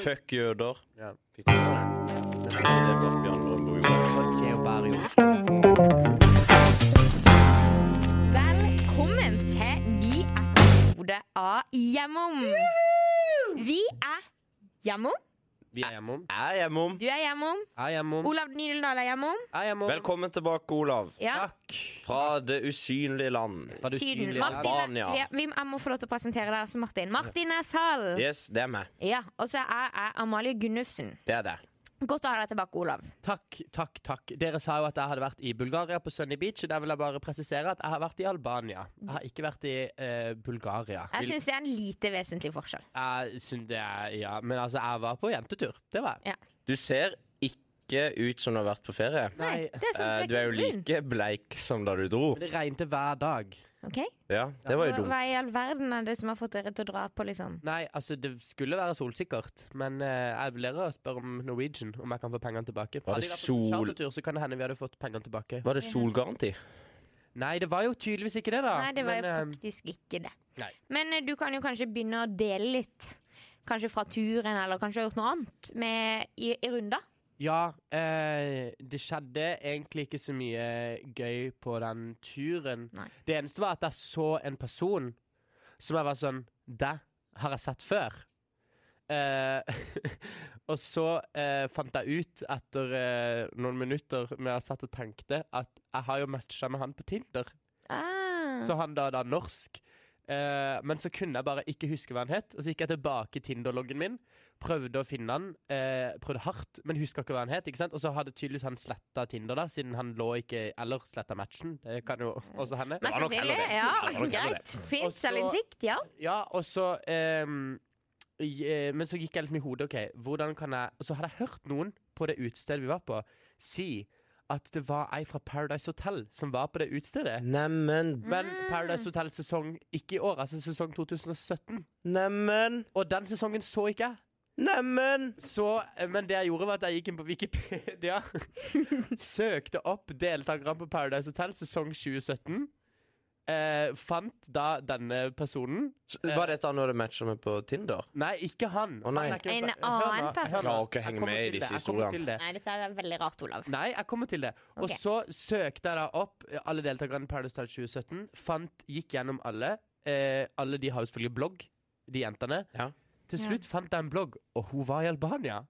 Fuck jøder. Ja, fikk du med deg det? Det er bak Bjørn Brøndbo gjorde. Sånn skjer jo bare i Oslo. Velkommen til ny episode av Hjemom. Vi er Hjemom. Vi er hjemom. Er hjemom. Du er Hjemom. Er hjemom. Olav Nydeldal er Hjemom. Er hjemom. Velkommen tilbake, Olav. Ja. Fra det usynlige land. Var du Syden. synlig? Martin, Albania. ja, vi, jeg må få lov til å presentere deg også, Martin. Martin Neshall. Yes, det er meg. Ja, og så er jeg Amalie Gunnufsen. Det er det. Godt å ha deg tilbake, Olav. Takk, takk, takk. Dere sa jo at jeg hadde vært i Bulgaria på Sunny Beach. og Der vil jeg bare presisere at jeg har vært i Albania. Jeg har ikke vært i eh, Bulgaria. Jeg syns det er en lite vesentlig forskjell. Jeg syns det er Ja, men altså, jeg var på jentetur. Det var jeg. Du ser ikke ut som du har vært på ferie. Nei, det Eh, er sånn Du er jo ikke like bleik som da du dro. Men det regnet hver dag. Ok? Ja, det var jo Hva dumt. i all verden er det som har fått dere til å dra på, liksom? Nei, altså, det skulle være solsikkert, men eh, jeg vurderer å spørre om Norwegian, om jeg kan få pengene tilbake. Var det Hadde jeg vært på sol- chartertur, så kan det hende vi hadde fått pengene tilbake. Var det solgaranti? Nei, det var jo tydeligvis ikke det, da. Nei, det var men, jo eh, faktisk ikke det. nei. Men eh, du kan jo kanskje begynne å dele litt. Kanskje fra turen, eller kanskje du har gjort noe annet med, i, i runder. Ja, eh, det skjedde egentlig ikke så mye gøy på den turen. Nei. Det eneste var at jeg så en person som jeg var sånn Det har jeg sett før. Eh, og så eh, fant jeg ut etter eh, noen minutter med jeg satt og tenkte, at jeg har jo matcha med han på Tinder. Ah. Så han da da norsk. Eh, men så kunne jeg bare ikke huske hva han het. Og så gikk jeg tilbake i Tinder-loggen min, prøvde å finne han. eh, prøvde hardt, men huska ikke hva han het. ikke sant? Og så hadde tydeligvis han sletta Tinder, da, siden han lå ikke Eller sletta matchen. Det kan jo også hende. Men var nok heller selvfølgelig. det. Ja, Det var nok heller greit. Og Fint så- selvinnsikt, ja. Ja, og så ehm, i- eh, Men så gikk jeg liksom i hodet, OK, hvordan kan jeg Og så hadde jeg hørt noen på det utestedet vi var på, si at det var ei fra Paradise Hotel som var på det utestedet. Neimen, Men Paradise Hotel sesong ikke i år, altså sesong 2017. neimen, Og den sesongen så ikke jeg. neimen! Så, eh, men det jeg gjorde var at jeg gikk inn på Wikipedia, søkte opp deltakerne på Paradise Hotel sesong 2017. Eh, fant da denne personen Så Var dette når du matcha meg på Tinder? Nei, ikke han. Å, nei. Han er ikke- En hør nå, annen hør nå. person. Jeg Klarer ikke å henge kommer med i til det, disse jeg kommer historiene. til det. Nei, dette er veldig rart, Olav. Nei, jeg kommer til det. Og Ok. så søkte jeg da opp eh, alle deltakerne i Paradise Hotel 2017. Fant, gikk gjennom alle. Eh, alle de har jo selvfølgelig blogg, de jentene. Ja. Til Ja. slutt fant jeg en blogg, og hun var i Albania.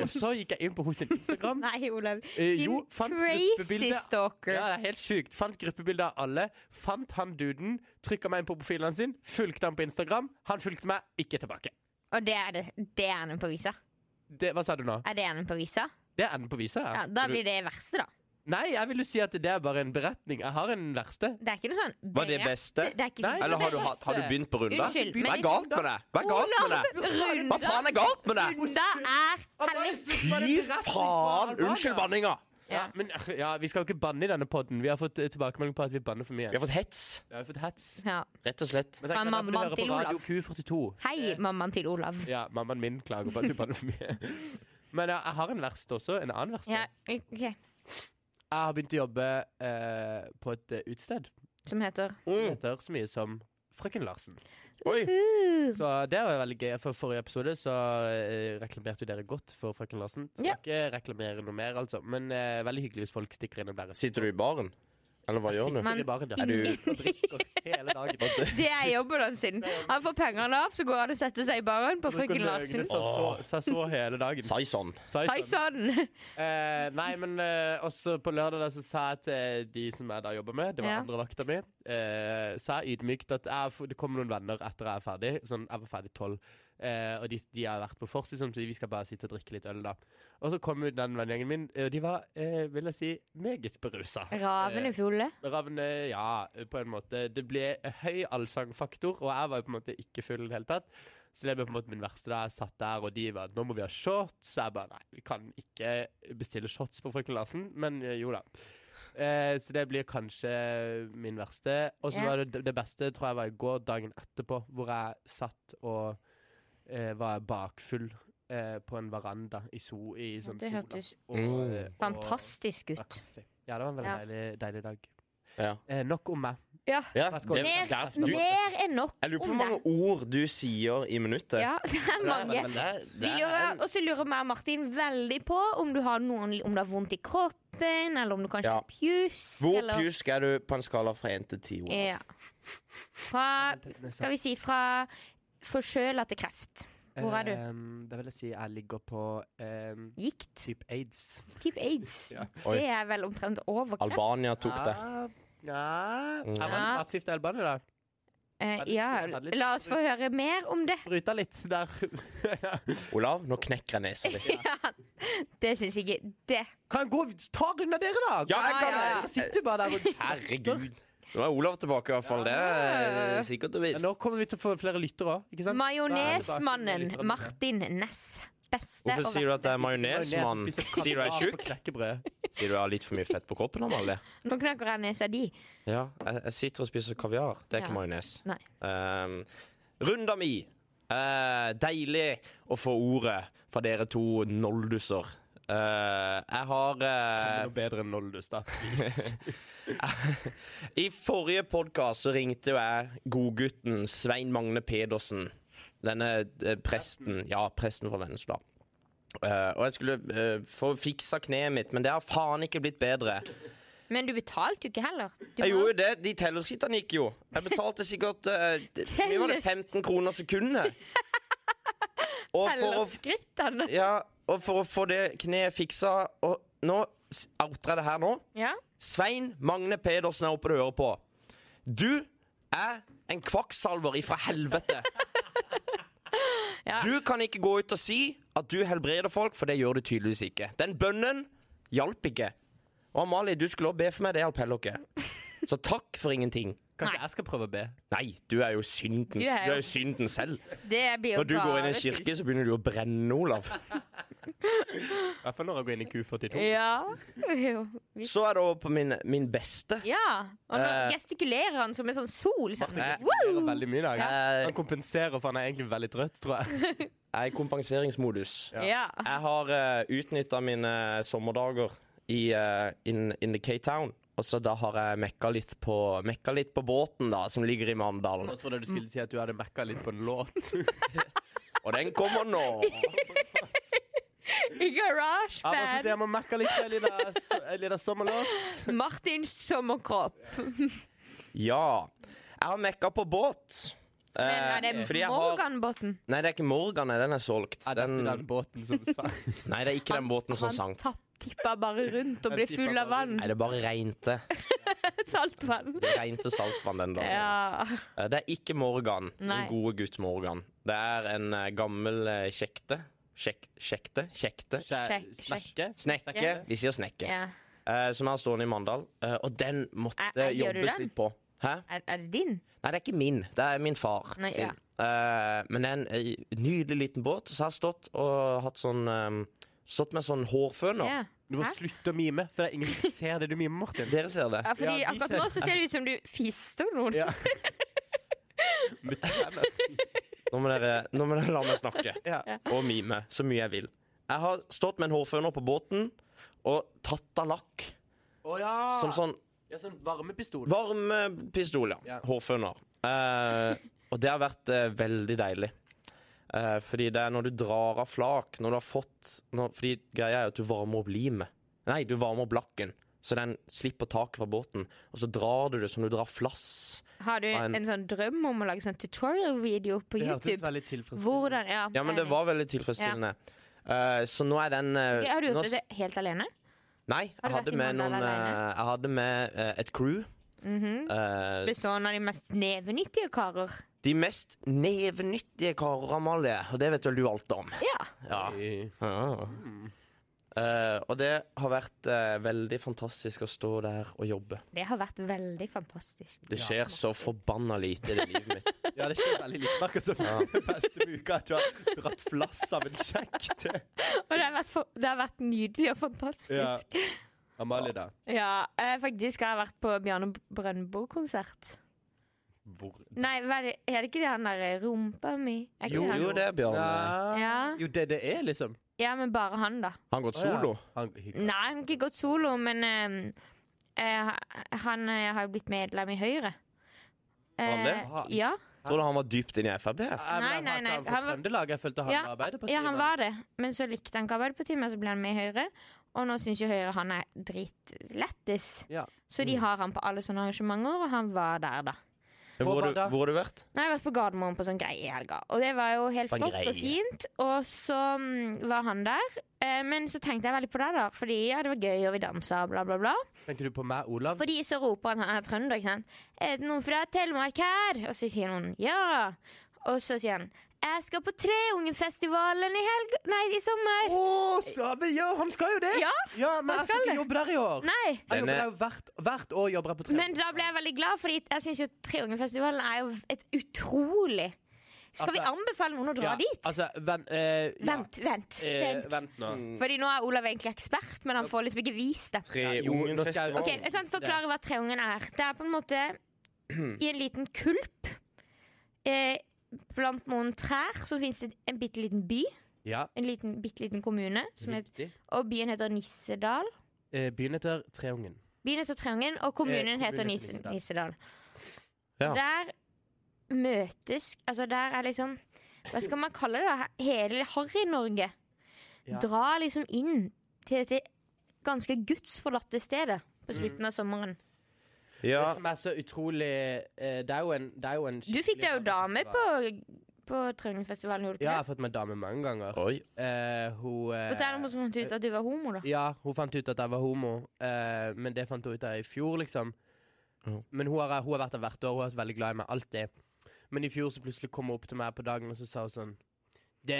og så gikk jeg inn på hennes Instagram. Nei, Olav. Eh, Din jo, fant crazy gruppebilde stalker. ja, det er helt sjukt. Fant gruppebilder av alle. Fant han duden. Trykka meg inn på profilen hans sin. Fulgte han på Instagram. Han fulgte meg ikke tilbake. Og det er, det, det er enden på visa. Det, hva sa du nå? Er det enden på visa? Det er enden på visa. Ja, da blir det verste, da. Nei, jeg vil jo si at det er bare en beretning. Jeg har en verste. Det er ikke noe sånn Var det beste? Det, det er ikke Nei, Eller har du, hatt- har du begynt på runder? Unnskyld, Hva men- er galt med det? Hva er galt med det? Hva Olav, faen er galt med det? runda er hellig. Fy faen! Unnskyld banninga. Ja, men ja, Vi skal jo ikke banne i denne podden. Vi har fått eh, tilbakemelding på at vi banner for mye. Vi har fått hets, Vi har jo fått hets. Ja. rett og slett. Men tenk, det Fra er derfor de mammaen hører på til Radio Olav. Q42. Hei, mammaen til Olav. Ja, mammaen min klager på at vi banner for mye. Men ja, jeg har en verste også. En annen verste. Ja, ok Jeg har begynt å jobbe eh, på et eh, utested. Som heter Det heter så mye som Frøken Larsen. Mm. Oi! Så eh, det var veldig gøy. For forrige episode så eh, reklamerte jo dere godt for Frøken Larsen. Skal Ja. ikke reklamere noe mer, altså. Men eh, veldig hyggelig hvis folk stikker innom deres. Sitter du i baren? Eller hva gjør du? Men- Sitter i baren der. Er du og drikker hele dagen. Det er jobben hans sin. Han får pengene av, så går han og setter seg i baren på Frøken Larsen. Så, sånn så, så, så hele dagen. Saison? Sa jeg Hei sånn. sann! Eh, nei, men eh, også på lørdag da, så sa jeg til eh, de som jeg da jobber med, det var Ja. andre vakta mi, eh, sa jeg ydmykt at jeg, får- det kommer noen venner etter jeg er ferdig. Sånn, jeg var ferdig tolv. Eh, og de, de har vært på vors, liksom, så vi skal bare sitte og drikke litt øl, da. Og så kom jo den vennegjengen min, eh, og de var, eh, vil jeg si, meget berusa. Eh, Ravene fulle. Ravne, eh, ja, på en måte. Det ble høy allsangfaktor, og jeg var jo på en måte ikke full i det hele tatt. Så det ble på en måte min verste da jeg satt der, og de var nå må vi ha shots. Så jeg bare nei, vi kan ikke bestille shots på Frøken Larsen, men eh, jo da. Eh, så det blir kanskje min verste. Og så Ja. var det det beste tror jeg var i går, dagen etterpå, hvor jeg satt og eh, var bakfull eh, på en veranda i, so, i sånn det sola. hørtes Og, Mm. eh, og- Fantastisk drakk ut. kaffe. Ja, det var en veldig Ja. deilig, deilig dag. Ja. Eh, nok om meg. Ja. Ja, Let's go. det, Mer- der, Mer, du, jeg mer enn nok lurer på hvor om det. mange ord du sier i minuttet. Ja, det er mange. Men det, Vi det lurer, og så lurer vi og Martin veldig på om du har noen Om du har vondt i kroppen, eller om du kanskje Ja. har pjusk. Hvor eller- pjusk er du på en skala fra én til ti? Olav? Ja. Fra Skal vi si fra forkjøla til kreft. Hvor er du? Eh, Ehm, da vil jeg si jeg ligger på ehm, Gikt. type aids. Type aids. Ja. Oi. Det er vel omtrent over kreft. Albania tok det. Ja, Ah, ja. Mm. Jeg var litt aktivt i Albania, da. Eh, Hadde litt- ja, hadde litt- la oss få høre mer om det. Bryta litt der. Olav, nå knekker jeg nesa di. Ja, det syns jeg ikke. Det. kan jeg gå ta unna dere, da? Ja, jeg kan- Dere sitter bare der og Herregud. Nå er Olav tilbake, i hvert fall. Det Ja. er sikkert og visst. Nå kommer vi til å få flere lyttere òg, ikke sant? Majonesmannen Martin Næss. Beste Hvorfor og sier du at det er Majones som majonesmann? spiser Sier du er kaviar på tjukk? knekkebrød. Sier du har litt for mye fett på kroppen? Amalie? verste. Nå knakker jeg nesa di. Ja, jeg, jeg sitter og spiser kaviar. Det er Ja. ikke majones. Nei. Um, runda mi. Eh, deilig å få ordet fra dere to nolduser. Eh, jeg har eh, Noe bedre enn Noldus, da. I forrige podkast så ringte jo jeg godgutten Svein Magne Pedersen. Denne eh, presten. Ja, presten fra Vennesla. Eh, og jeg skulle eh, få fiksa kneet mitt, men det har faen ikke blitt bedre. Men du betalte jo ikke heller. Du Jeg gjorde bare- jo det. De tellerskrittene gikk jo. Jeg betalte sikkert eh, d- Mye var det 15 kroner sekundet. Og for, å, Tellerskrittene. ja, og for å få det kneet fiksa Og nå s- outer jeg det her nå. Ja. Svein Magne Pedersen er oppe og hører på. Du er en kvakksalver ifra helvete. Ja. Du kan ikke gå ut og si at du helbreder folk, for det gjør du tydeligvis ikke. Den bønnen hjalp ikke. Og Amalie, du skulle også be for meg, det hjalp heller ikke. Så takk for ingenting. Kanskje jeg skal prøve å be? Nei, du er jo synden, Du du er er jo- jo synden selv. Det blir jo Når du går inn i en bare tull. kirke, så begynner du å brenne, Olav. I hvert fall når jeg går inn i Q42. Ja. Jo. Vi- Så er det over på min, min beste. ja. Og nå Eh. gestikulerer han som en sånn sol. Sånn. Eh. Han Wow! gjør veldig mye i dag. Ja. Han kompenserer, for han er egentlig veldig trøtt, tror jeg. Jeg er i kompenseringsmodus. Ja. Jeg har uh, utnytta mine eh, sommerdager i eh, in, in the K-Town. Og så da har jeg mekka litt på, mekka litt på båten, da, som ligger i Mandalen. Nå trodde jeg du skulle si at du hadde mekka litt på en låt. Og den kommer nå! I Jeg bare sitter garasjeband. hjemme og mekker litt på en liten so- en liten sommerlåt. Martins sommerkropp. Ja. Jeg har mekka på båt. Eh, Men er det fordi jeg har- Morganbotn? Nei, det er ikke Morgan. Den er solgt. Ah, Er Den... dette den båten som sa Nei, det er ikke den båten som Han sank. tapp- tipper bare rundt og Han blir tipper full av bare vann. rundt. Nei, det bare regnte. Saltvann. Det regnte saltvann den dagen. Ja. Eh, Det er ikke Morgan, Nei. den gode gutt Morgan. Det er en eh, gammel eh, kjekte. Kjek, kjekte? Kjekte? Sjekk, Snekke? Snekke. Vi sier snekke. ja. Eh, som er stående i Mandal. Eh, og den måtte Er- er- gjør du jobbes den? litt på. Hæ? Er, er det din? Nei, det er ikke min. Det er min far Nei, sin. ja. Eh, men det er en eh, nydelig liten båt. Så jeg har stått og hatt sånn eh, Stått med sånn hårføner. Ja. Du må Hæ? slutte å mime, for det er ingen som ser det du mimer, Martin. Dere ser det. Ja, fordi Ja, vi akkurat ser- nå så ser det ut som du fister noen. Ja. Med tenner. Nå må dere, nå må dere la meg snakke. Ja. og mime så mye jeg vil. Jeg har stått med en hårføner på båten og tatt av lakk. Å ja. Som sånn ja! Sånn varmepistol. varmepistol, ja. Ja. Hårføner. Eh, og det har vært eh, veldig deilig. Eh, fordi det er når du drar av flak Når du har fått når, Fordi greia er jo at du varmer opp limet. Nei, du varmer opp lakken. Så den slipper taket fra båten, og så drar du det som du drar flass. Har du Har en- en sånn drøm om å lage sånn tutorial-video på Det hørtes YouTube? veldig tilfredsstillende Hvordan, ja, Ja, men det var veldig tilfredsstillende. Eh, så nå er den eh, Ok, Har du nå gjort s- det helt alene? Nei, Har jeg du vært hadde i med, noen, Mandal eh, alene? Mhm. jeg hadde med eh, et crew. Eh, Bestående av de mest nevenyttige karer? de mest nevenyttige karer, Amalie, og det vet vel du alt om? Ja. Ja. Ah. Eh, og det har vært eh, veldig fantastisk å stå der og jobbe. Det har vært veldig fantastisk. Det skjer så forbanna lite i det livet mitt. Ja, det skjer veldig litt. Merker som den beste med uka at du har dratt flass av en sjekk til Og det har vært, fa- det har vært nydelig og fantastisk. Ja, Amalie, da. eh, faktisk har jeg vært på Bjarne Brøndbo-konsert. Hvor Nei, hva er det, er det ikke det han derre rumpa mi? Er ikke Jo, det han? jo, det er Bjørn. Ja. Ja. Jo, det det er, liksom. ja, men bare han, da. Han har gått solo. Han, Nei, ehm, han har ikke gått solo, men eh, eh, han eh, har jo blitt medlem i Høyre. Eh, Var han det? Ah, ja. Tror du han var dypt inne i Frp? Nei, men nei, han- nei, Han var han fra var- Trøndelag. Jeg følte han Ja, var Arbeiderpartiet. ja, han men- var det, men så likte han ikke Arbeiderpartiet, men så ble han med i Høyre. Og nå syns jo Høyre han er dritlættis. Ja. Mm. Så de har han på alle sånne arrangementer, og han var der, da. Men Hvor, Hvor har var du- det? hvor har du vært? Nei, jeg har vært på Gardermoen på sånn greie i helga, og det var jo helt På en flott og greie. fint. Og så mm, var han der, eh, men så tenkte jeg veldig på det, da, fordi ja, det var gøy, og vi dansa, bla, bla, bla. Tenkte du på meg, Olav? Fordi så roper han, han er trønder, ikke sant. Er det noen fra Telemark her? Og så sier noen ja. Og så sier han jeg skal på Treungenfestivalen i helg... Nei, i sommer. Å, Sabe, ja, han skal jo det! Ja, Men han jeg skal skal ikke det. jobbe der i år. Nei. Han jobber Denne- der jo hvert, hvert år jobber jeg på tre. Men da ble jeg veldig glad, Fordi jeg syns jo Treungenfestivalen er jo et utrolig Skal vi Altså- anbefale noen å dra ja, dit? Altså, vent eh, ja. Vent, vent, Eh, vent. vent nå. Mm. Fordi nå er Olav egentlig ekspert, men han får liksom ikke vist det. Tre Ja, jo, ungen nå skal jeg- festival. Ok, Jeg kan forklare hva Treungen er. Det er på en måte i en liten kulp eh, blant noen trær så fins det en bitte liten by. Ja, En liten, bitte liten kommune. Som het- riktig. og byen heter Nissedal. Eh, byen heter Treungen. Byen heter Treungen, og kommunen Eh, heter kommunen Nis heter Nissedal. Ja. Der møtes Altså, der er liksom Hva skal man kalle det? da? Hele Harry-Norge Ja. drar liksom inn til dette ganske gudsforlatte stedet Mm. på slutten av sommeren. Ja, Det som er så utrolig eh, Det er jo en, det er jo en Du fikk deg jo skikkelig dame på, festival. på Trønderfestivalen, gjorde du Ja, ikke jeg det? har fått meg dame mange ganger. oi. Eh, hun eh, Fortell om hvordan du fant ut at du var homo, da. Ja, hun fant ut at jeg var homo, eh, men det fant hun ut av i fjor, liksom. Ja. Men hun har, hun har vært der hvert år, hun er så veldig glad i meg, alltid. Men i fjor så plutselig kom hun opp til meg på dagen, og så sa hun sånn Du,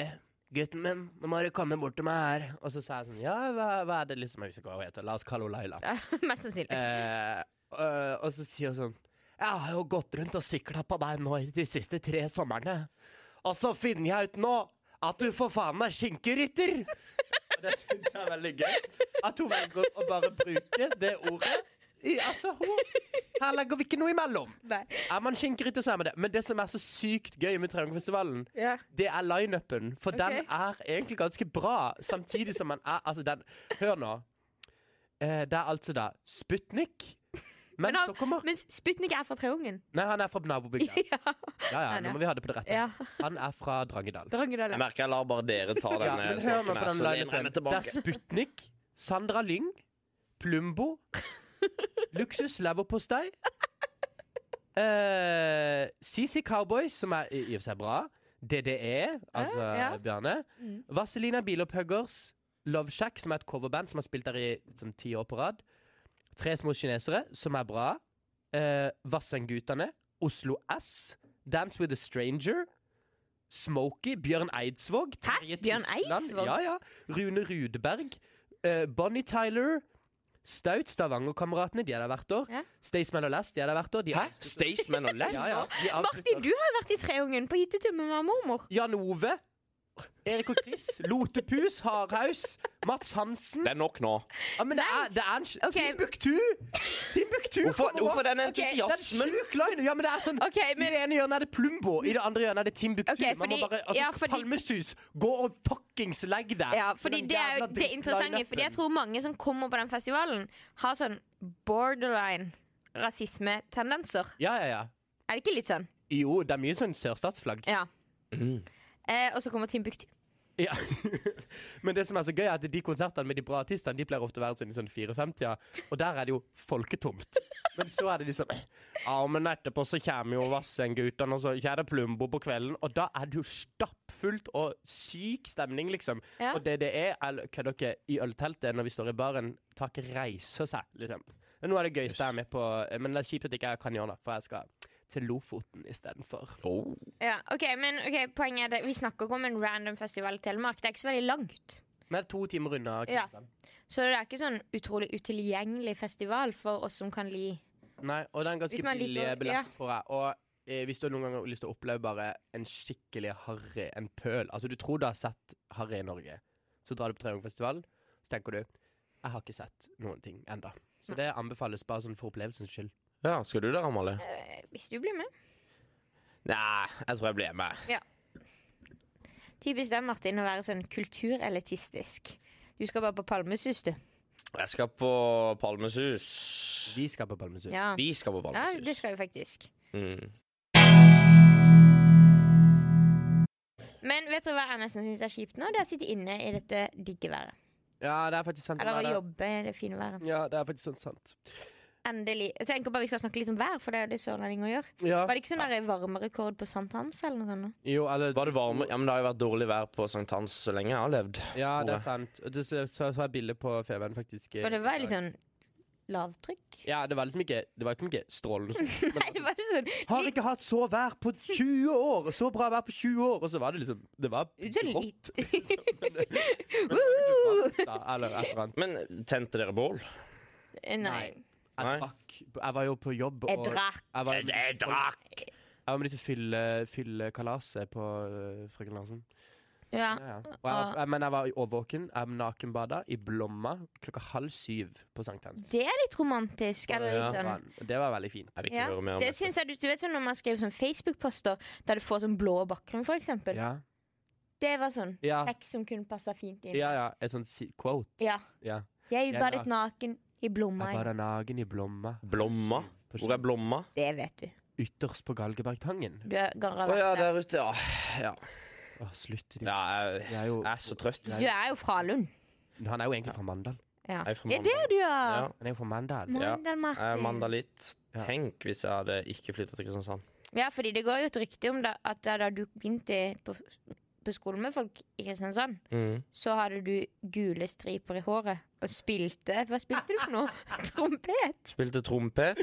gutten min, nå må du komme bort til meg her. Og så sa jeg sånn Ja, hva, hva er det liksom Jeg husker ikke hva hun heter. La oss kalle henne Laila. Mest sannsynlig. Eh, øh, og så sier hun sånn Jeg har jo gått rundt og sykla på deg nå i de siste tre somrene. Og så finner jeg ut nå at du for faen meg skinkerytter! Og det syns jeg er veldig gøy. At hun velger å bare bruke det ordet. I, altså, hun Her legger vi ikke noe imellom. Nei. Er man skinkerytter, så er man det. Men det som er så sykt gøy med Triangelfestivalen, Ja. det er lineupen, for den Ok. er egentlig ganske bra. Samtidig som man er Altså, den Hør nå. Eh, det er altså da Sputnik. Men, Men han- så kommer Men Sputnik er fra Treungen. Nei, han er fra nabobygda. Ja. Ja, ja, han er. nå må vi ha det på det rette. ja. Han er fra Drangedal. Drangedal. Jeg merker jeg lar bare dere ta Ja, denne men hør nå saken på her, den så lener jeg meg lineupen. Det er tilbake. Sputnik, Sandra Lyng, Plumbo, Luksus leverpostei, eh, CC Cowboys, som er i i og for seg bra, DDE, altså Ja, ja. Bjarne, Mm. Vaselina Bilopphøggers, Love Shack, som er et coverband som har spilt der i sånn ti år på rad, Tre små kinesere, som er bra, eh, Vassendgutane, Oslo S, Dance with a Stranger, Smokey, Bjørn Eidsvåg. Terje Bjørn Tysland, Eidsvåg? Ja, ja. Rune Rudberg. eh, Bonnie Tyler. Staut, Stavanger-kameratene, de er der hvert år. Ja. Staysman og Last, de er der hvert år. De Hæ? Staysman og Less? Ja, ja, de avslutter- Martin, du har jo vært i Treungen på hyttetur med mamma og mormor. Jan Ove. Erik og Chris. Lotepus. Hardhaus. Mats Hansen. Det er nok nå. Ja, men det er, det er en sj- Ok. Timbuktu! Timbuktu Hvorfor, kommer hvorfor opp. denne Det er en entusiasmen? sjuk line! Ja, men det er sånn Ok, men- I det ene hjørnet er det Plumbo, i det andre hjørnet er det Timbuktu. Ok, Man må fordi- bare altså, ja, fordi- Palmesus, gå og fuckings legg deg! Ja, fordi Den det er jo jævla det interessante. drittline-upen. Fordi jeg tror mange som kommer på den festivalen, har sånn borderline rasismetendenser. Ja, ja, ja. Er det ikke litt sånn? Jo, det er mye sånn sørstatsflagg. Ja. Mm. Eh, og så kommer Timbuktu. Ja. Men det som er så gøy, er at de konsertene med de bra artistene De pleier ofte å være sånn i sånn 54-tida, og der er det jo folketomt. Men så er det liksom Ja, men etterpå så kommer jo Vassendgutene, og så kommer det Plumbo på kvelden, og da er det jo stappfullt og syk stemning, liksom. Ja. Og det det er, er hva dere i ølteltet når vi står i baren, taket reiser seg, liksom. Men Nå er det gøyeste jeg er med på, men det er kjipt at ikke jeg kan gjøre det, for jeg skal til Lofoten istedenfor. Oh. Ja, ok, men ok, Poenget er det, vi snakker ikke om en random festival i Telemark. Det er ikke så veldig langt. Men det er to timer unna Ja. Kristiansand. Så det er ikke sånn utrolig utilgjengelig festival for oss som kan li Nei, og det er en ganske Hvis man liker billig å- billett, ja. tror jeg. Og eh, hvis du noen gang har lyst til å oppleve bare en skikkelig harry, en pøl Altså, du tror du har sett harry i Norge. Så drar du på Treungfestivalen, så tenker du Jeg har ikke sett noen ting enda Så det anbefales bare sånn for opplevelsens skyld. Ja, skal du der, Amalie? eh, Hvis du blir med. Nei, jeg tror jeg blir med. Typisk deg, Martin, å være sånn kulturelitistisk. Du skal bare på Palmesus, du. Jeg skal på Palmesus. Vi skal på Palmesus. Ja. Vi skal på ja, det Palmesus. skal jo faktisk. Mm. Men vet dere hva jeg nesten syns er kjipt nå? Det er å sitte inne i dette digge været. Ja, det er faktisk sant. Eller Nei, å det- jobbe i det fine været. Ja, det er faktisk sånn sant. Endelig. Jeg tenker bare vi skal snakke litt om vær, for det er jo det sørlendinger gjør. Ah, Ja. Var det ikke sånn der varmerekord på sankthans eller noe sånt? nå? Jo, eller Var det varme? Ja, men det har jo vært dårlig vær på sankthans så lenge jeg har levd. Ja, tror det er jeg. sant. Og Det så, så, så er bildet på feberen faktisk eh, For det var litt sånn lavtrykk. Ja, det var liksom ikke Det var ikke noe strålende sånn. Nei, det var sånn Har ikke hatt så vær på 20 år! Så bra vær på 20 år! Og så var det liksom Det var Så grått. litt. Men det var ikke varmt, da, Eller et eller annet. Men tente dere bål? Nei. Nei. Jeg drakk. Jeg var jo på jobb, Jeg og drakk. jeg var med, Jeg Eh, drakk! jeg var med disse fylle, fyllekalaset på øh, Frøken Larsen. Ja. Ja, ja. Og jeg, Ah. var- jeg, men jeg var i overvåken. Jeg nakenbada i Blomma klokka halv syv på sankthans. Det er litt romantisk. Eller litt Det sånn var- Det var veldig fint. Jeg vil ikke Ja, høre mer om det dette. synes jeg, du, du vet sånn Når man skriver sånn Facebook-poster der du får sånn blå bakgrunn, for eksempel. Ja. Det var sånn Ja. tekst som kunne passe fint inn. Ja, ja, et sånt si quote. Ja. Ja. Jeg Jeg badet naken i blomma. Jeg bader nagen i blomma. Blomma? På Hvor er Blomma? Det vet du. Ytterst på Galgebergtangen. Du er Å garra ja, vært der. der ute, ja. Åh, slutt. ja jeg, Jeg er jo, jeg er så trøtt. Du er jo fra Lund. han er jo egentlig fra Mandal. Ja. Jeg er fra Det er det du Ja. er! Han er jo fra Mandal. Ja. Mandal Jeg er Martin. mandalitt. Ja. Tenk hvis jeg hadde ikke flytta til Kristiansand. Ja, fordi det går jo et rykte om da, at da du begynte på, på skolen med folk i Kristiansand, Mm. så hadde du gule striper i håret og spilte Hva spilte du for noe? Trompet? Spilte trompet.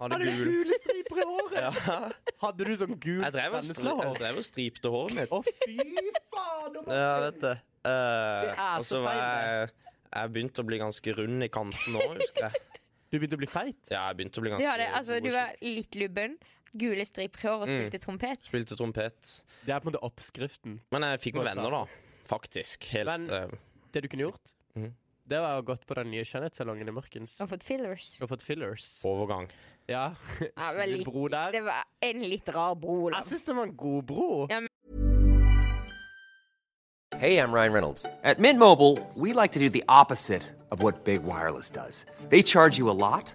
Hadde gul gule striper i håret? ja. Hadde du sånn gul Jeg drev og stri- jeg penneslår? drev og stripte håret mitt. Å, fy faen! nå må- Ja, jeg vet det. Eh, Det er og så så var jeg Jeg begynte å bli ganske rund i kanten nå, husker jeg. Du begynte å bli feit? Ja, jeg begynte å bli Du, ganske hadde, altså, du var litt lubben, gule striper i håret og Mm. spilte trompet. Spilte trompet. Det er på en måte oppskriften. Men jeg fikk meg venner, da. Faktisk. Helt Men- eh, Det du kunne gjort, Mhm. det var å gått på den nye skjønnhetssalongen i Mørkens Og fått fillers. og fått fillers. overgang. Ja. Ja, det var litt- Bro der. Det var en litt rar bro. da. Altså, Jeg syns det var en god bro. Hey, I'm Ryan Reynolds. At Mint Mobile, we like to do the opposite of what Big Wireless does. They charge you a lot,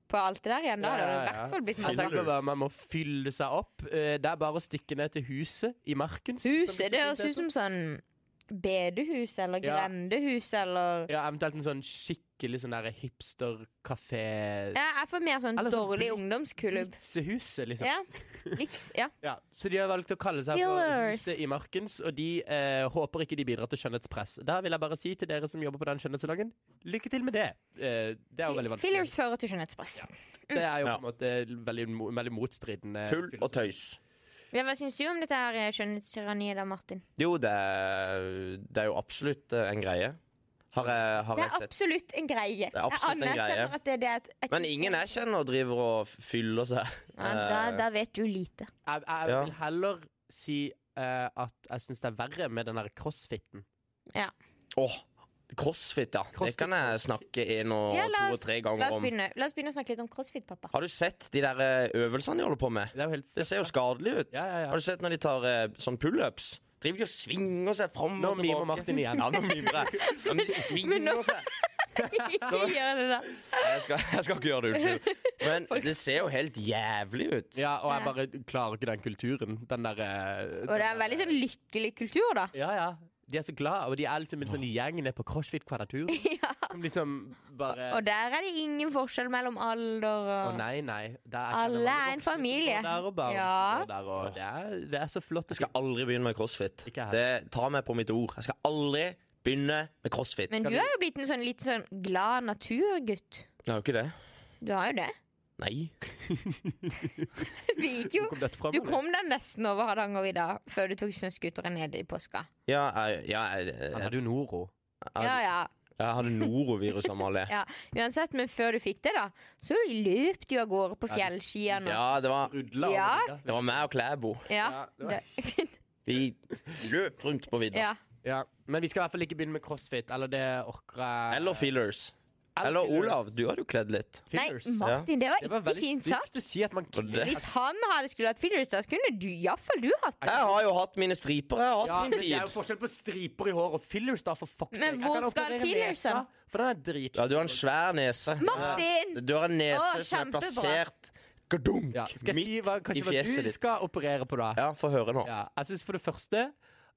alt det der igjen. Ja, Da hadde det ja, i ja. hvert fall blitt Jeg masse. tenker bare Man må fylle seg opp. Eh, Det er bare å stikke ned til huset i Markens. som Huset, det så høres fint ut som sånn bedehus eller Ja. grendehus eller Ja, Eventuelt en sånn skikkelig sånn der hipsterkafé ja, Jeg får mer sånn Eller sånn dårlig blit- ungdomsklubb. Blitsehuset, liksom. Ja. Blitz, ja. Ja, Så de har valgt å kalle seg for Killers. Huset i Markens, og de eh, håper ikke de bidrar til skjønnhetspress. Der vil jeg bare si til dere som jobber på den skjønnhetssalongen, lykke til med det. Eh, det er jo veldig vanskelig. Fillers fører til skjønnhetspress. Det er jo Ja. på en måte veldig, mo- veldig motstridende. Tull og tøys. Ja, hva syns du om dette her eh, skjønnhetstyranniet da, Martin? Jo, det er, det er jo absolutt eh, en greie. Har jeg, har Det jeg er sett. absolutt en greie. er absolutt en jeg anerkjenner greie. at det, det er et, et Men ingen eh, jeg kjenner driver og f- fyller seg. ja, da, da vet du lite. Jeg, jeg Ja. vil heller si eh, at jeg syns det er verre med den der crossfiten. Åh, crossfit, ja. Det Crossfit. kan jeg snakke en og Ja, la to oss- og tre La ganger oss om. begynne, la oss begynne å snakke litt om crossfit, pappa. Har du sett de der eh, øvelsene de holder på med? Det er jo helt Det ser jo skadelig ut. Ja, ja, ja. Har du sett når de tar eh, sånn pullups? Driver de og svinger seg fram Nå og tilbake? mimer Martin igjen. Ja, nå mimer jeg. Ja, Men de Men nå- svinger seg. Ikke gjør det da. Nei, Jeg skal, jeg skal ikke gjøre det, unnskyld. Men Folk- det ser jo helt jævlig ut. Ja, og jeg Ja. bare klarer ikke den kulturen. Den eh, derre Og det er en veldig sånn lykkelig kultur, da. Ja, ja. De er så glad, og de er liksom en sånn gjeng nede på CrossFit-kvadratur. Ja. Som liksom bare Og der er det ingen forskjell mellom alder Å og nei, nei. Det er Alle jeg kjenner mange er en voksne som familie. går Der og barn Ja. som går der, og det, er, det er så flott. Jeg skal aldri begynne med crossfit. Ikke jeg. Det Ta meg på mitt ord. Jeg skal aldri begynne med crossfit. Men du er jo blitt en sånn litt sånn glad naturgutt. Det er jo ikke det. Du har jo det. Nei. Du gikk jo Hvor kom dette fra, Du Molly? kom deg nesten over Hardangervidda før du tok snøscooteren ned i påska. Ja, jeg, ja, jeg, Han jeg, hadde jo Noro. Ja, jeg, ja, jeg hadde norovirus, Amalie. ja. Uansett, men før du fikk det, da, så løp du av gårde på fjellskiene. Ja, det var, Rudla altså. Ja. det var meg og Klæbo. Ja. Ja, det var- Det- Vi løp rundt på vidda. ja. Ja. Men vi skal i hvert fall ikke begynne med crossfit, eller det orker jeg Eller feelers. Eller fillers. Olav, du hadde jo kledd litt. Nei, Fillers. ja. Martin, det var Det var ikke veldig fint sagt. stygt å si at man Og det- Hvis han hadde skulle hatt fillers, da kunne du iallfall du hatt det. Jeg har jo hatt mine striper. Jeg har Ja, hatt men min det er jo tid. forskjell på striper i hår og fillers, da, for fuck's Men sake. Jeg hvor kan skal operere fillersen? nesa, For den er drit. Ja, du har en svær nese. Martin! Du har en nese Å, som er kjempebra. plassert gadunk, Ja, skal jeg si midt hva, i kanskje hva fjeset du ditt. skal operere på, da? Ja, få høre nå. Ja, jeg syns for det første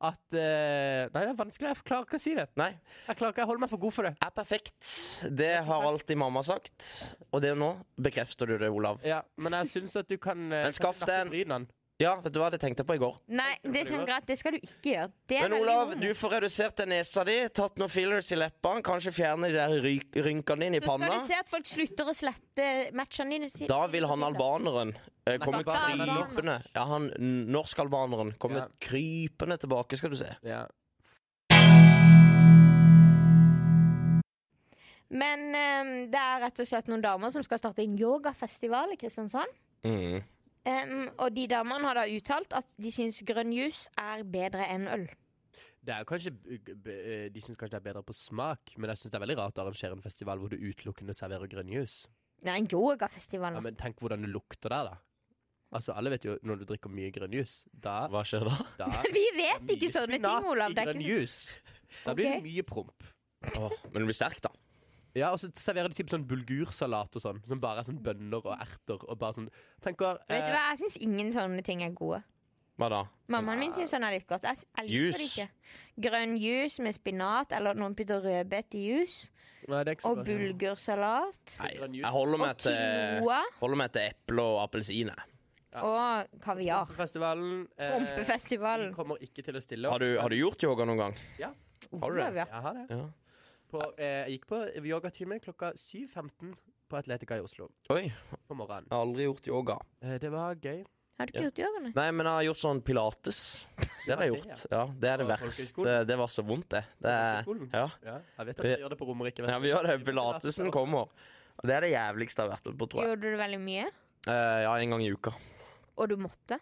at eh, Nei, det er vanskelig. Jeg klarer ikke å si det. Nei, Jeg klarer ikke, jeg holder meg for god for det. er perfekt. Det har alltid mamma sagt. Og det nå bekrefter du det, Olav. Ja, Men jeg syns at du kan eh, Men skaff kanskje deg nakke en- brynene. Ja, vet du hva, det tenkte jeg på i går. Nei, det tenker jeg at det skal du ikke gjøre. Det er Men veldig Olav, homo. du får redusert den nesa di, tatt noen fillers i leppene, kanskje fjerne de der ryk- rynkene dine i Så skal panna. du se at folk slutter å slette matchene dine. sier- Da vil han albaneren eh, komme Albaner. krypende Ja, han n- norsk-albaneren Ja. kommer krypende tilbake, skal du se. Ja. Men ehm, det er rett og slett noen damer som skal starte en yogafestival i Kristiansand. Mm. Ehm, og de damene har da uttalt at de syns grønn juice er bedre enn øl. Det er jo kanskje b- b- eh, De syns kanskje det er bedre på smak, men jeg syns det er veldig rart å arrangere en festival hvor du utelukkende serverer grønn juice. Nei, en yogafestival. Ja, men tenk hvordan det lukter der, da. Altså, Alle vet jo når du drikker mye grønn juice, da, Hva skjer da? da Vi vet ikke sånne ting, Olav. Det er Mye spinat i grønn ikke... juice. Da blir det mye promp. Åh, men du blir sterk, da. Ja, og så serverer de typ sånn bulgursalat og sånn, som bare er sånn bønner og erter og bare sånn Tenker Vet du eh, hva, jeg syns ingen sånne ting er gode. Hva da? Mammaen min syns sånn er litt godt. Jeg, s- jeg liker det Juice. ikke. Grønn juice med spinat, eller noen putter rødbet i juice. Nei, det er ikke så Og godt. bulgursalat. Nei, Grønn juice. jeg holder meg Og til quinoa. Holder meg til eple og appelsin. jeg. Og kaviar. Pumpefestivalen. eh, Pumpefestivalen. vi kommer ikke til å stille Har du, har du gjort yoga noen gang? du det? Olav, ja. Jeg har det. Ja. På, eh, jeg gikk på yogatime klokka 7.15 på Atletica i Oslo Oi, jeg på morgenen. har aldri gjort yoga. Eh, det var gøy. Har du ikke gjort yoga, nei? Nei, men jeg har gjort sånn pilates. Det har jeg Ja, det, gjort. Ja, Det er det På verste. folkehøyskolen? Det var så vondt, det. det er, Folkehøyskolen? ja. Ja, jeg vet at vi Vi- gjør det på Romerike. vet ja, du. vi gjør det. Pilatesen kommer. Og Det er det jævligste jeg har vært med på, tror jeg. Gjorde du det veldig mye? Eh, ja, en gang i uka. Og du måtte?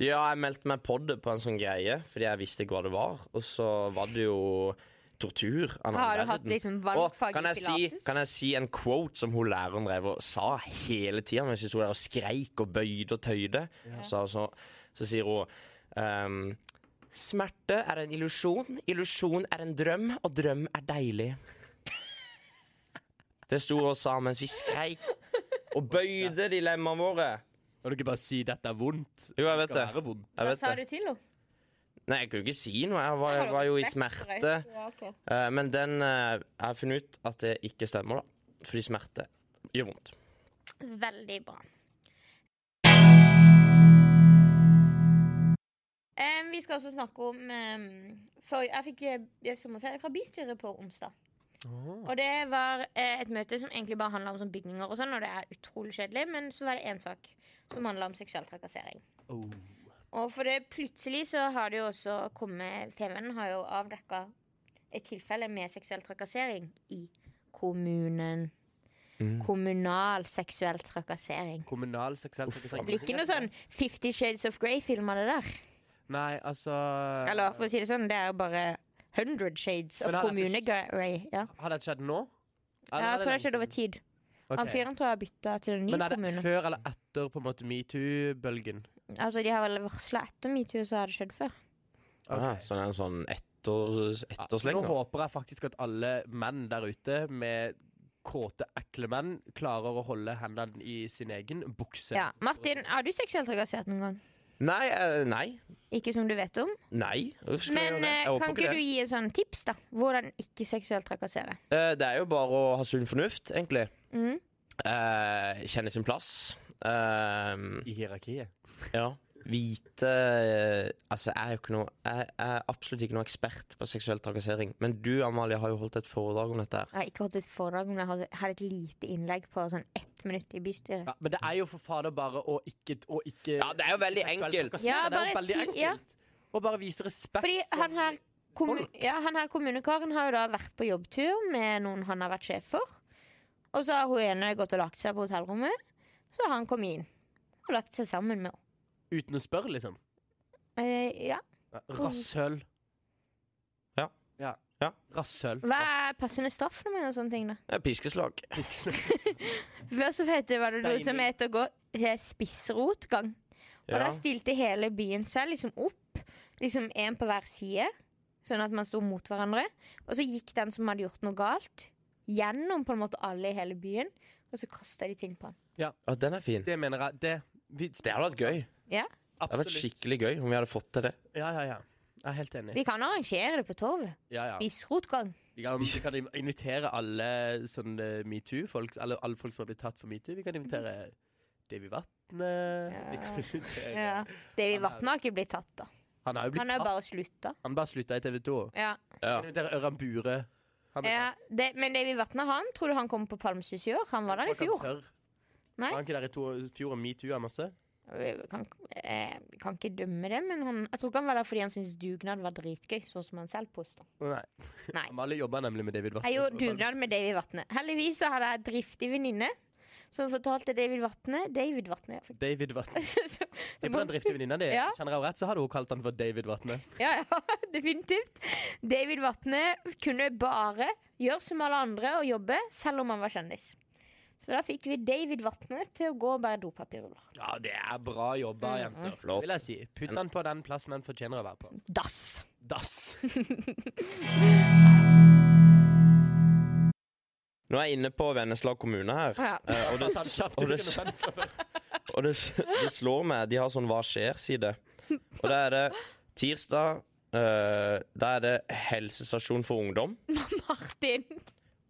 Ja, jeg meldte meg på det på en sånn greie, fordi jeg visste ikke hva det var. Og så var det jo tortur. av en annen Har du verden. hatt liksom Og valgfag kan i jeg, si, pilates? kan jeg si en quote som hun læreren drev og sa hele tida mens vi sto der og skreik og bøyde og tøyde? Så, så, så sier hun ehm, Smerte er en illusjon, illusjon er en drøm, og drøm er deilig. Det sto hun og sa mens vi skreik og bøyde dilemmaene våre. Kan du ikke bare si 'dette er vondt'? Jo, jeg vet skal det. være vondt. Jeg Hva vet sa det. du til henne? Nei, jeg kunne ikke si noe. Jeg var, var jo i smerte. Eh, men den eh, Jeg har funnet ut at det ikke stemmer, da. Fordi smerte gjør vondt. Veldig bra. Em, vi skal også snakke om em, for Jeg fikk eh, sommerferie fra bystyret på onsdag. Og det var eh, et møte som egentlig bare handla om sånn bygninger og sånn, og det er utrolig kjedelig, men så var det én sak som handla om seksuell trakassering. Oh. Og for det plutselig så har det jo også kommet TV-en har jo avdekka et tilfelle med seksuell trakassering i kommunen. Kommunal seksuell trakassering. Kommunal seksuell Det blir ikke trakassering. noe sånn Fifty Shades of Grey-film av det der. Nei, altså Eller for å si det sånn, det er bare Hundred Shades of Men har dette- Kommune-Grey. Ja. Har det skjedd nå? Ja, jeg tror det har har skjedd over tid. Han fyren tror jeg har bytta til en ny Men er det kommune. før eller etter på en måte metoo-bølgen? Altså, De har vel varsla etter metoo, så har det skjedd før. Ok. Ah, så det er en sånn etter, Ja, ettersleng? Nå da. håper jeg faktisk at alle menn der ute med kåte, ekle menn klarer å holde hendene i sin egen bukse. Ja. Martin, har du seksuelt trakassert noen gang? Nei, eh, nei. Ikke som du vet om? Nei. Hvorfor skulle jeg Men gjøre det? Jeg eh, håper kan ikke du det. gi en sånn tips, da? Hvordan ikke seksuelt trakassere? Eh, det er jo bare å ha sunn fornuft, egentlig. Mhm. Eh, kjenne sin plass. Eh, I hierarkiet. ja. Vite eh, Altså, jeg er jo ikke noe Jeg er absolutt ikke noe ekspert på seksuell trakassering. Men du, Amalie, har jo holdt et foredrag om dette her. Jeg har ikke hatt et foredrag, men jeg hadde, hadde et lite innlegg på sånn ett minutt i bystyret. Ja, men det er jo for fader bare å ikke, å ikke Ja, det er jo veldig seksuelt enkelt. trakassere. Ja, det er jo bare veldig si- ja. enkelt. Og bare vise respekt. Fordi for- han her, kommu Folk. ja, han her kommunekaren har jo da vært på jobbtur med noen han har vært sjef for. Og så har hun ene gått og lagt seg på hotellrommet. Så har han kommet inn og lagt seg sammen med henne. Uten å spørre, liksom. Eh, ja. Rasshøl. Ja. Rasshøl. Hva er passende straff når man gjør sånne ting, da? Eh, Piskeslag. Før så heter, var det noe som Steining. het å gå til spissrotgang. Og Ja. da stilte hele byen seg liksom opp, liksom én på hver side, sånn at man sto mot hverandre. Og så gikk den som hadde gjort noe galt, gjennom på en måte alle i hele byen, og så kasta de ting på han. Ja, den er fin. Det mener jeg. Det, vi, Det hadde vært gøy. Ja. Det hadde vært skikkelig gøy om vi hadde fått til det. Ja, ja, ja. Jeg er helt enig. Vi kan arrangere det på torvet. Ja, ja. Spissrotgang. Vi kan, vi kan invitere alle sånne metoo-folk, eller alle folk som har blitt tatt for metoo. Vi kan invitere Davy Vatne. Vi kan invitere Ja. David Vatne har ikke blitt tatt, da. Han har jo blitt Han har jo tatt. bare slutta. Han bare slutta i TV 2. Ja. Ja. Invitere Ørjan Bure. Han Ja, det, men David Vatne, han tror du han kommer på Palmesus i år? Han var der i fjor. Nei. Var han ikke der i to, fjor og metoo-a masse? Vi kan, eh, vi kan ikke dømme det, men han, jeg tror ikke han var der fordi han syntes dugnad var dritgøy, sånn som han selv påstår. Å, Nei. Nei. Amalie jobba nemlig med David Vatne. Jeg gjorde dugnad med David Vatne. Heldigvis så hadde jeg en driftig venninne som fortalte David Vatne David Vatne, ja. David Vatne. Så- så- Det er på den driftige venninna di. Ja. Kjenner jeg henne rett, så hadde hun kalt han for David Vatne. Ja, ja, definitivt. David Vatne kunne bare gjøre som alle andre og jobbe, selv om han var kjendis. Så da fikk vi David Vatne til å gå og bære dopapirruller. Ja, det er bra jobba, jenter. Flott. Vil jeg si. Putt han på den plassen han fortjener å være på. Dass! Dass. Nå er jeg inne på Vennesla kommune her. Ja. eh, Og det, Ta den kjapt og ut det, under penselen først. og det, det slår meg. De har sånn Hva skjer-side. Og da er det tirsdag. eh, da er det helsestasjon for ungdom. Martin!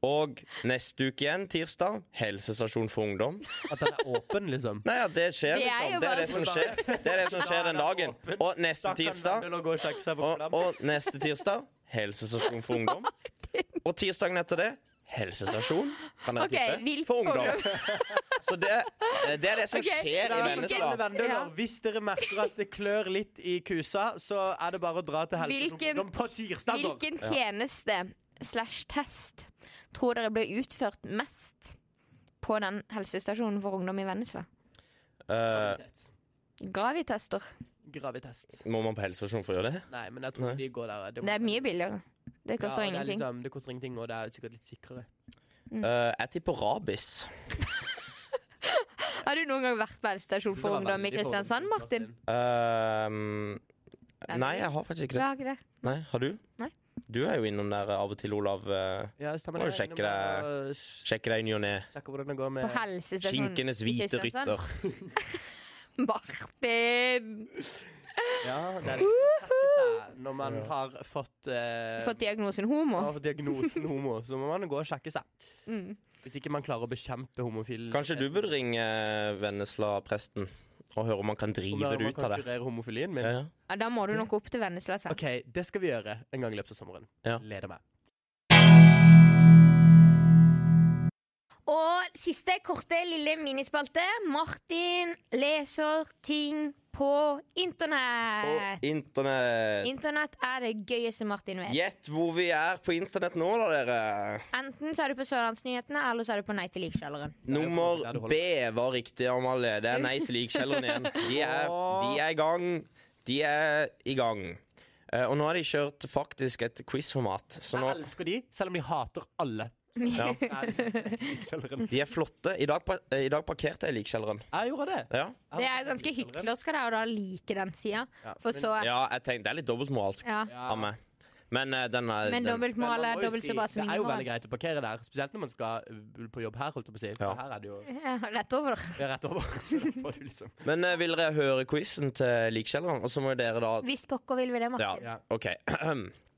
Og neste uke igjen, tirsdag, helsestasjon for ungdom. At den er åpen, liksom. Nei, ja, det skjer, Det er liksom. jo Det bare er sånn. det som skjer. Det er det som skjer den dagen. Og neste tirsdag Å gå og sjekke seg på og, program. og neste tirsdag helsestasjon for ungdom. Og tirsdagen etter det helsestasjon kan dere Ok, tippe, vilt for ungdom. Så det, det er det som Ok, skjer Da, i alle Vennesla. venner, Ja. Hvis dere merker at det klør litt i kusa, så er det bare å dra til Hvilken- helsestasjonen på tirsdag. da. Hvilken tjeneste slash test tror dere ble utført mest på den helsestasjonen for ungdom i Vennesla? Eh, Gravitet. Gravitester. Gravitest. må man på helsestasjon for å gjøre det? Nei, men jeg tror Nei. de går der. må- Det er mye billigere. Det Ja, koster det er ingenting. Liksom, det koster ingenting, og det er sikkert litt sikrere. Mm. Eh, jeg tipper rabis. sånn- Har du noen gang vært på helsestasjon for ungdom i Kristiansand, Martin? Ehm, Eh, nei, jeg har faktisk Du ikke det. har ikke det? Nei, Har du? Nei. Du er jo innom der av og til, Olav. eh, Ja, stemmer Må det. jo sjekke Jeg er innom det. og sj- Sjekker deg i ny og ne. Sjekke hvordan det går med På helsestasjonen Skinkenes i hvite Kristiansand? rytter. Martin! Ja, det er litt å sjekke seg når man har fått, eh, Fått diagnosen homo? Mm. har fått diagnosen homo, så må man gå og sjekke seg. Hvis ikke man klarer å bekjempe homofil Kanskje du burde ringe eh, Vennesla-presten og høre om han kan drive det ut av det. kurere homofilien min. Ja, ja. Ja, da må du nok opp til Vennesla. sa. OK, det skal vi gjøre en gang i løpet av sommeren. Ja. Leder meg. Og siste korte lille minispalte. Martin leser ting på internett. Og internett. Internett er det gøyeste Martin vet. Gjett hvor vi er på internett nå, da, dere. Enten så er du på Sørlandsnyhetene, eller så er du på Nei til likkjelleren. Nummer Der du holder. B var riktig, Amalie. Det er Nei til likkjelleren igjen. De er, de er i gang. De er i gang. Eh, og nå har de kjørt faktisk et quiz-format, så nå Jeg elsker de, selv om de hater alle. ja, Nei, det er ikke kjelleren. De er flotte. I dag, pa- eh, i dag parkerte jeg i likkjelleren. Jeg gjorde det. Ja. Det er ganske hyklersk av deg å da like den sida, for så ja, jeg tenkte det er litt dobbeltmoralsk Ja. av meg. Men eh, den er den, Men Men man dobbeltmoral må er jo dobbelt si, så bra som Det er jo veldig ingen greit å parkere der, spesielt når man skal eh, på jobb her. holdt jeg på å si For Ja. Her er det jo Rett over. det er rett over. Så da får du liksom. Men eh, vil dere høre quizen til likkjelleren? Og så må jo dere da Hvis pokker vil vi det, Ja, Martin. Ja. OK.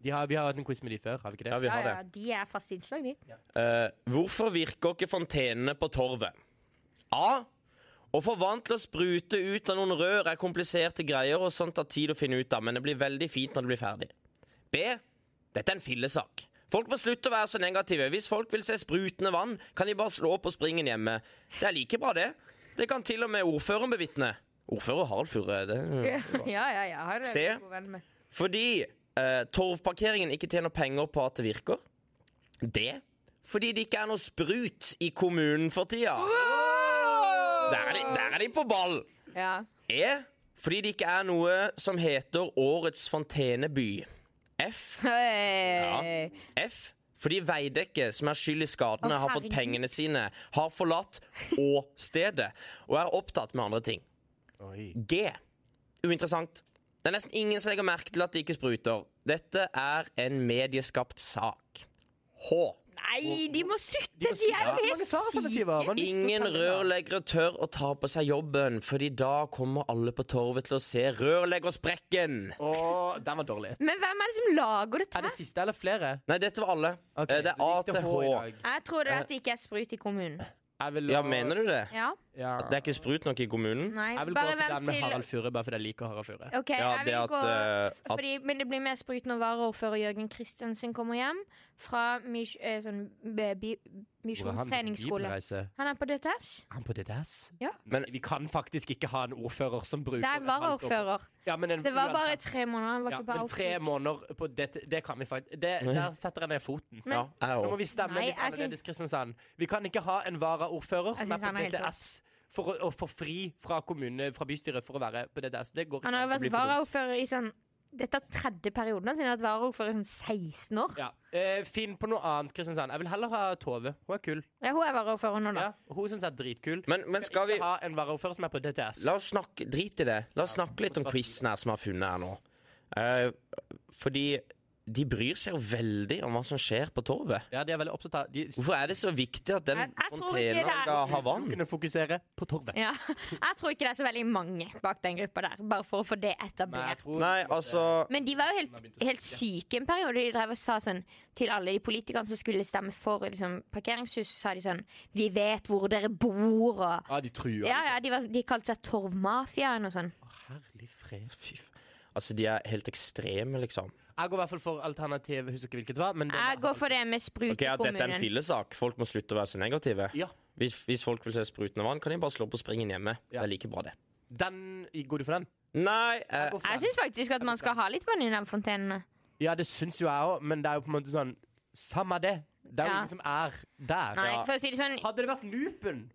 Ja, de har, vi har hatt en quiz med de før, har vi ikke det? vi Ja, har det. ja, de er fast innslag, de. Eh, hvorfor virker ikke fontenene på torvet? A. Å få vann til å sprute ut av noen rør er kompliserte greier og sånt tar tid å finne ut av, men det blir veldig fint når det blir ferdig. B. Dette er en fillesak. Folk må slutte å være så negative. Hvis folk vil se sprutende vann, kan de bare slå opp og springe inn hjemme. Det er like bra, det. Det kan til og med ordføreren bevitne. Ordfører Harald Furre, det Ja, ja, ja. Har du Se. god venn med. fordi eh, torvparkeringen ikke tjener penger på at det virker. Det fordi det ikke er noe sprut i kommunen for tida. Der er de, der er de på ball! Ja. E fordi det ikke er noe som heter Årets fonteneby. F. Hei. F. Fordi Veidekke, som er skyld i skadene, Å, har fått herregud. pengene sine, har forlatt og stedet, og er opptatt med andre ting. Oi. G. Uinteressant. Det er nesten ingen som legger merke til at de ikke spruter. Dette er en medieskapt sak. H. Nei, de må slutte! De De, må slutte. er Ja, så jo mange helt svaralternativer. Man syke. mister Ingen tellene. rørleggere tør å ta på seg jobben, fordi da kommer alle på torvet til å se rørleggersprekken. Åh, den var dårlig. Men hvem er det som lager dette? Er det her? siste eller flere? Nei, dette var alle. Ok, Eh, det er så A gikk til i H. dag. Jeg tror det Eh. er at det ikke er sprut i kommunen. Jeg vil Ja, mener du det? Ja, Ja. Det er ikke sprut nok i kommunen? nei, Jeg vil gå bare til den vent med til Harald Furre, bare fordi jeg liker Harald Furre. Ok, Ja, jeg det vil at, gå eh, f- Fordi men det blir mer sprut når varaordfører Jørgen Kristiansen kommer hjem fra mis, eh, sånn, eh, bi- Hvor er han på misjonstreningsskole. bibelreise? Han er på DTS. Han på DDS? Ja. Men vi kan faktisk ikke ha en ordfører som bruker Det et er halvt år på- varaordfører. Ja, men en, Det var bare uansett. tre måneder. Han var ja, ikke på men tre outreach. måneder på det, det kan vi faktisk det, Der setter jeg ned foten. Ja, jeg Nå må òg. vi stemme Nei, litt jeg annerledes, Kristiansand. Vi kan ikke ha en varaordfører Jeg som er synes på han er helt DTS for å, å få fri fra kommune, fra bystyret for å være på DTS. Det går Han har jo an å vært bli for dum. varaordfører i sånn Dette er tredje perioden hans. Han har vært varaordfører i sånn 16 år. Ja. Eh, finn på noe annet, Kristiansand. Jeg vil heller ha Tove. Hun er kul. Ja, hun er varaordfører nå, da. Ja, hun syns jeg er dritkul. Men, men skal vi Ikke ha en varaordfører som er på DTS. La oss snakke, Drit i det. La oss snakke litt om quizen her som jeg har funnet her nå. Eh, fordi de bryr seg jo veldig om hva som skjer på torvet. Ja, de er veldig opptatt av De Hvorfor er det så viktig at den Jeg- jeg tror ikke det fontena er- skal ha vann? kunne fokusere på torvet. Ja. Jeg tror ikke det er så veldig mange bak den gruppa der, bare for å få det etablert. Nei, altså Men de var jo helt, helt syke en periode. De drev og sa sånn til alle de politikerne som skulle stemme for liksom, parkeringshus, sa de sånn Vi vet hvor dere bor, og Ja, de truer. Ja, ja, de, var, de kalte seg Torvmafiaen og sånn. Herlig fred. fy, f- Altså, de er helt ekstreme, liksom. Jeg går i hvert fall for alternativ. Husker ikke hvilket det var. Men det var Jeg går for det med sprut Ok, i at Dette er en kommunen. fillesak. Folk må slutte å være så negative. Ja. Hvis, hvis folk vil se sprutende vann, kan de bare slå på springen hjemme. Det er like bra, det. Den Går du for den? Nei, eh, går for Jeg den. syns faktisk at man skal ha litt vann i den fontenen. Ja, det syns jo jeg òg, men det er jo på en måte sånn Samme det. Det er jo Ja. ingen som er der. Nei, Ja. for å si det sånn Hadde det vært Loopen,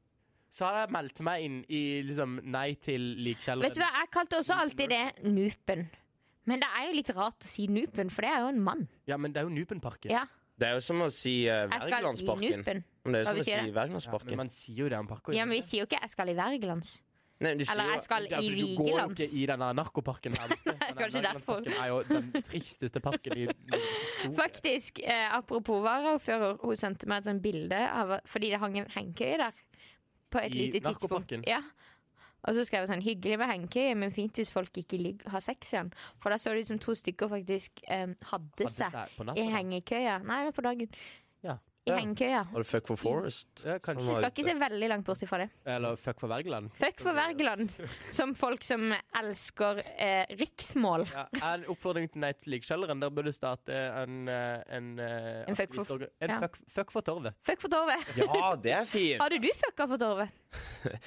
så hadde jeg meldt meg inn i liksom Nei til Vet du hva, likkjelleren. jeg kalte også alltid det Nupen. Men det er jo litt rart å si Nupen, for det er jo en mann. Ja, men det er jo Nupenparken. Ja, det er jo som å si uh, jeg skal i Wergelandsparken. Nupen. Men Det er Hva jo som å betyr det? si Wergelandsparken. Men man sier jo det om parker. Ja, men vi sier jo ikke 'jeg skal i Wergelands'. Nei, du Eller sier jo- 'jeg skal i Du går jo ikke Vigelands'. i denne narkoparken. Her, Nei, kanskje derfor. er jo den tristeste parken i historien. Faktisk, eh, apropos varaordfører, hun sendte meg et sånt bilde av, fordi det hang en hengekøye der. På et I lite tidspunkt. narkoparken? Ja. Og så skrev hun sånn 'hyggelig med hengekøye, men fint hvis folk ikke ligger, har sex igjen'. For da så det ut som to stykker faktisk eh, hadde seg seg på i natten, da. hengekøya. Nei, det var på dagen. Ja. I hengekøya. Var det Fuck for Forest? Ja, kanskje. Som var Skal ute. ikke se veldig langt bort ifra det. Eller Fuck for Wergeland. Fuck for Wergeland, som folk som elsker eh, riksmål. Ja, en oppfordring til Nei til likkjelleren. Der burde starte en eh, En, eh, En fuck for- aktivistorgan- en ja. fuck, fuck for torvet. Fuck for Torvet. Ja, det er fint! Hadde du fucka for Torvet?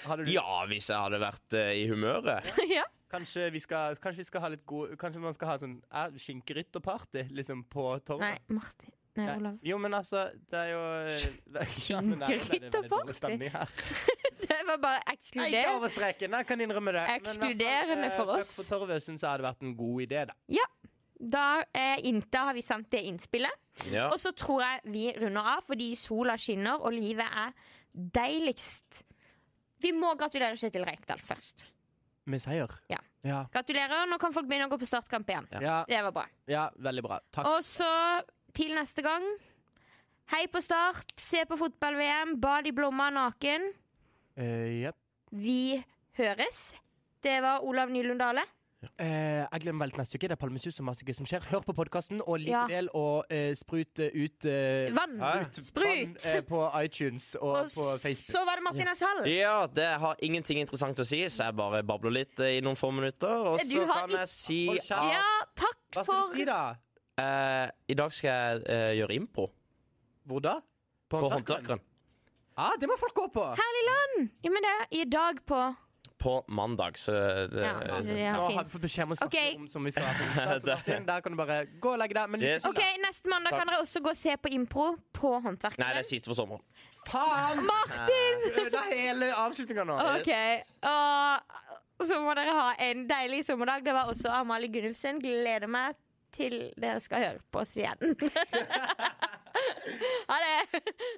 Hadde du, Ja, hvis jeg hadde vært eh, i humøret. ja. kanskje, vi skal, kanskje vi skal ha litt god Kanskje man skal ha sånn eh, skinkerytterparty liksom, på Nei, torvet? Martin. Nei, Olav. Jo, men altså, det er jo Ja, men det er- det er veldig Skinkerytterparty? dårlig stemning her. Det var bare Nei, ikke ekskluder. over streken. Jeg kan innrømme det. Men i hvert fall, Ekskluderende eh, for Fuck oss. for torvet syns jeg hadde vært en god idé, da. Ja. Da, eh, inn- da har vi sendt det innspillet. Ja. Og så tror jeg vi runder av, fordi sola skinner, og livet er deiligst. Vi må gratulere Kjetil Rekdal først. Med seier. Ja. Ja. Gratulerer. Nå kan folk begynne å gå på startkamp igjen. Ja, Det var bra. ja, veldig bra. Takk. Og så til neste gang. Hei på start. Se på fotball-VM. Bad i blomma naken. Eh, ja. Vi høres. Det var Olav Nylund Dale. Eh, jeg glemmer veldig neste uke. Det er Palmesus og masse gøy som skjer. Hør på podkasten, og lik Ja. del og eh, sprut eh, ut eh, Vann. Hæ? Sprut. vann, eh, på iTunes og, Og på Facebook. så var det Martin S. Hall. Ja, det har ingenting interessant å si, så jeg bare babler litt eh, i noen få minutter. Og Du så har kan ikke- jeg si Hold at kjeft. Ja, takk Hva skal for du si, da? eh, i dag skal jeg eh, gjøre impro Hvor da? på håndverkeren. Håndverkeren. Ja, det må folk gå på! Herlig land! Ja, men det er i dag på På mandag, så eh, det, Ja, så det Nå er har fint. vi fått beskjed om å snakke Ok. om som vi skal ha på onsdag, så Martin, Der kan du bare gå og legge deg. Men Yes. OK, neste mandag kan dere også gå og se på impro på Nei, det Håndverkeren. er siste for sommeren. faen! Martin! Du ødela hele avslutninga nå. Ah, OK. Og så må dere ha en deilig sommerdag. Det var også Amalie Gunnufsen. Gleder meg til dere skal høre på oss igjen. ha det!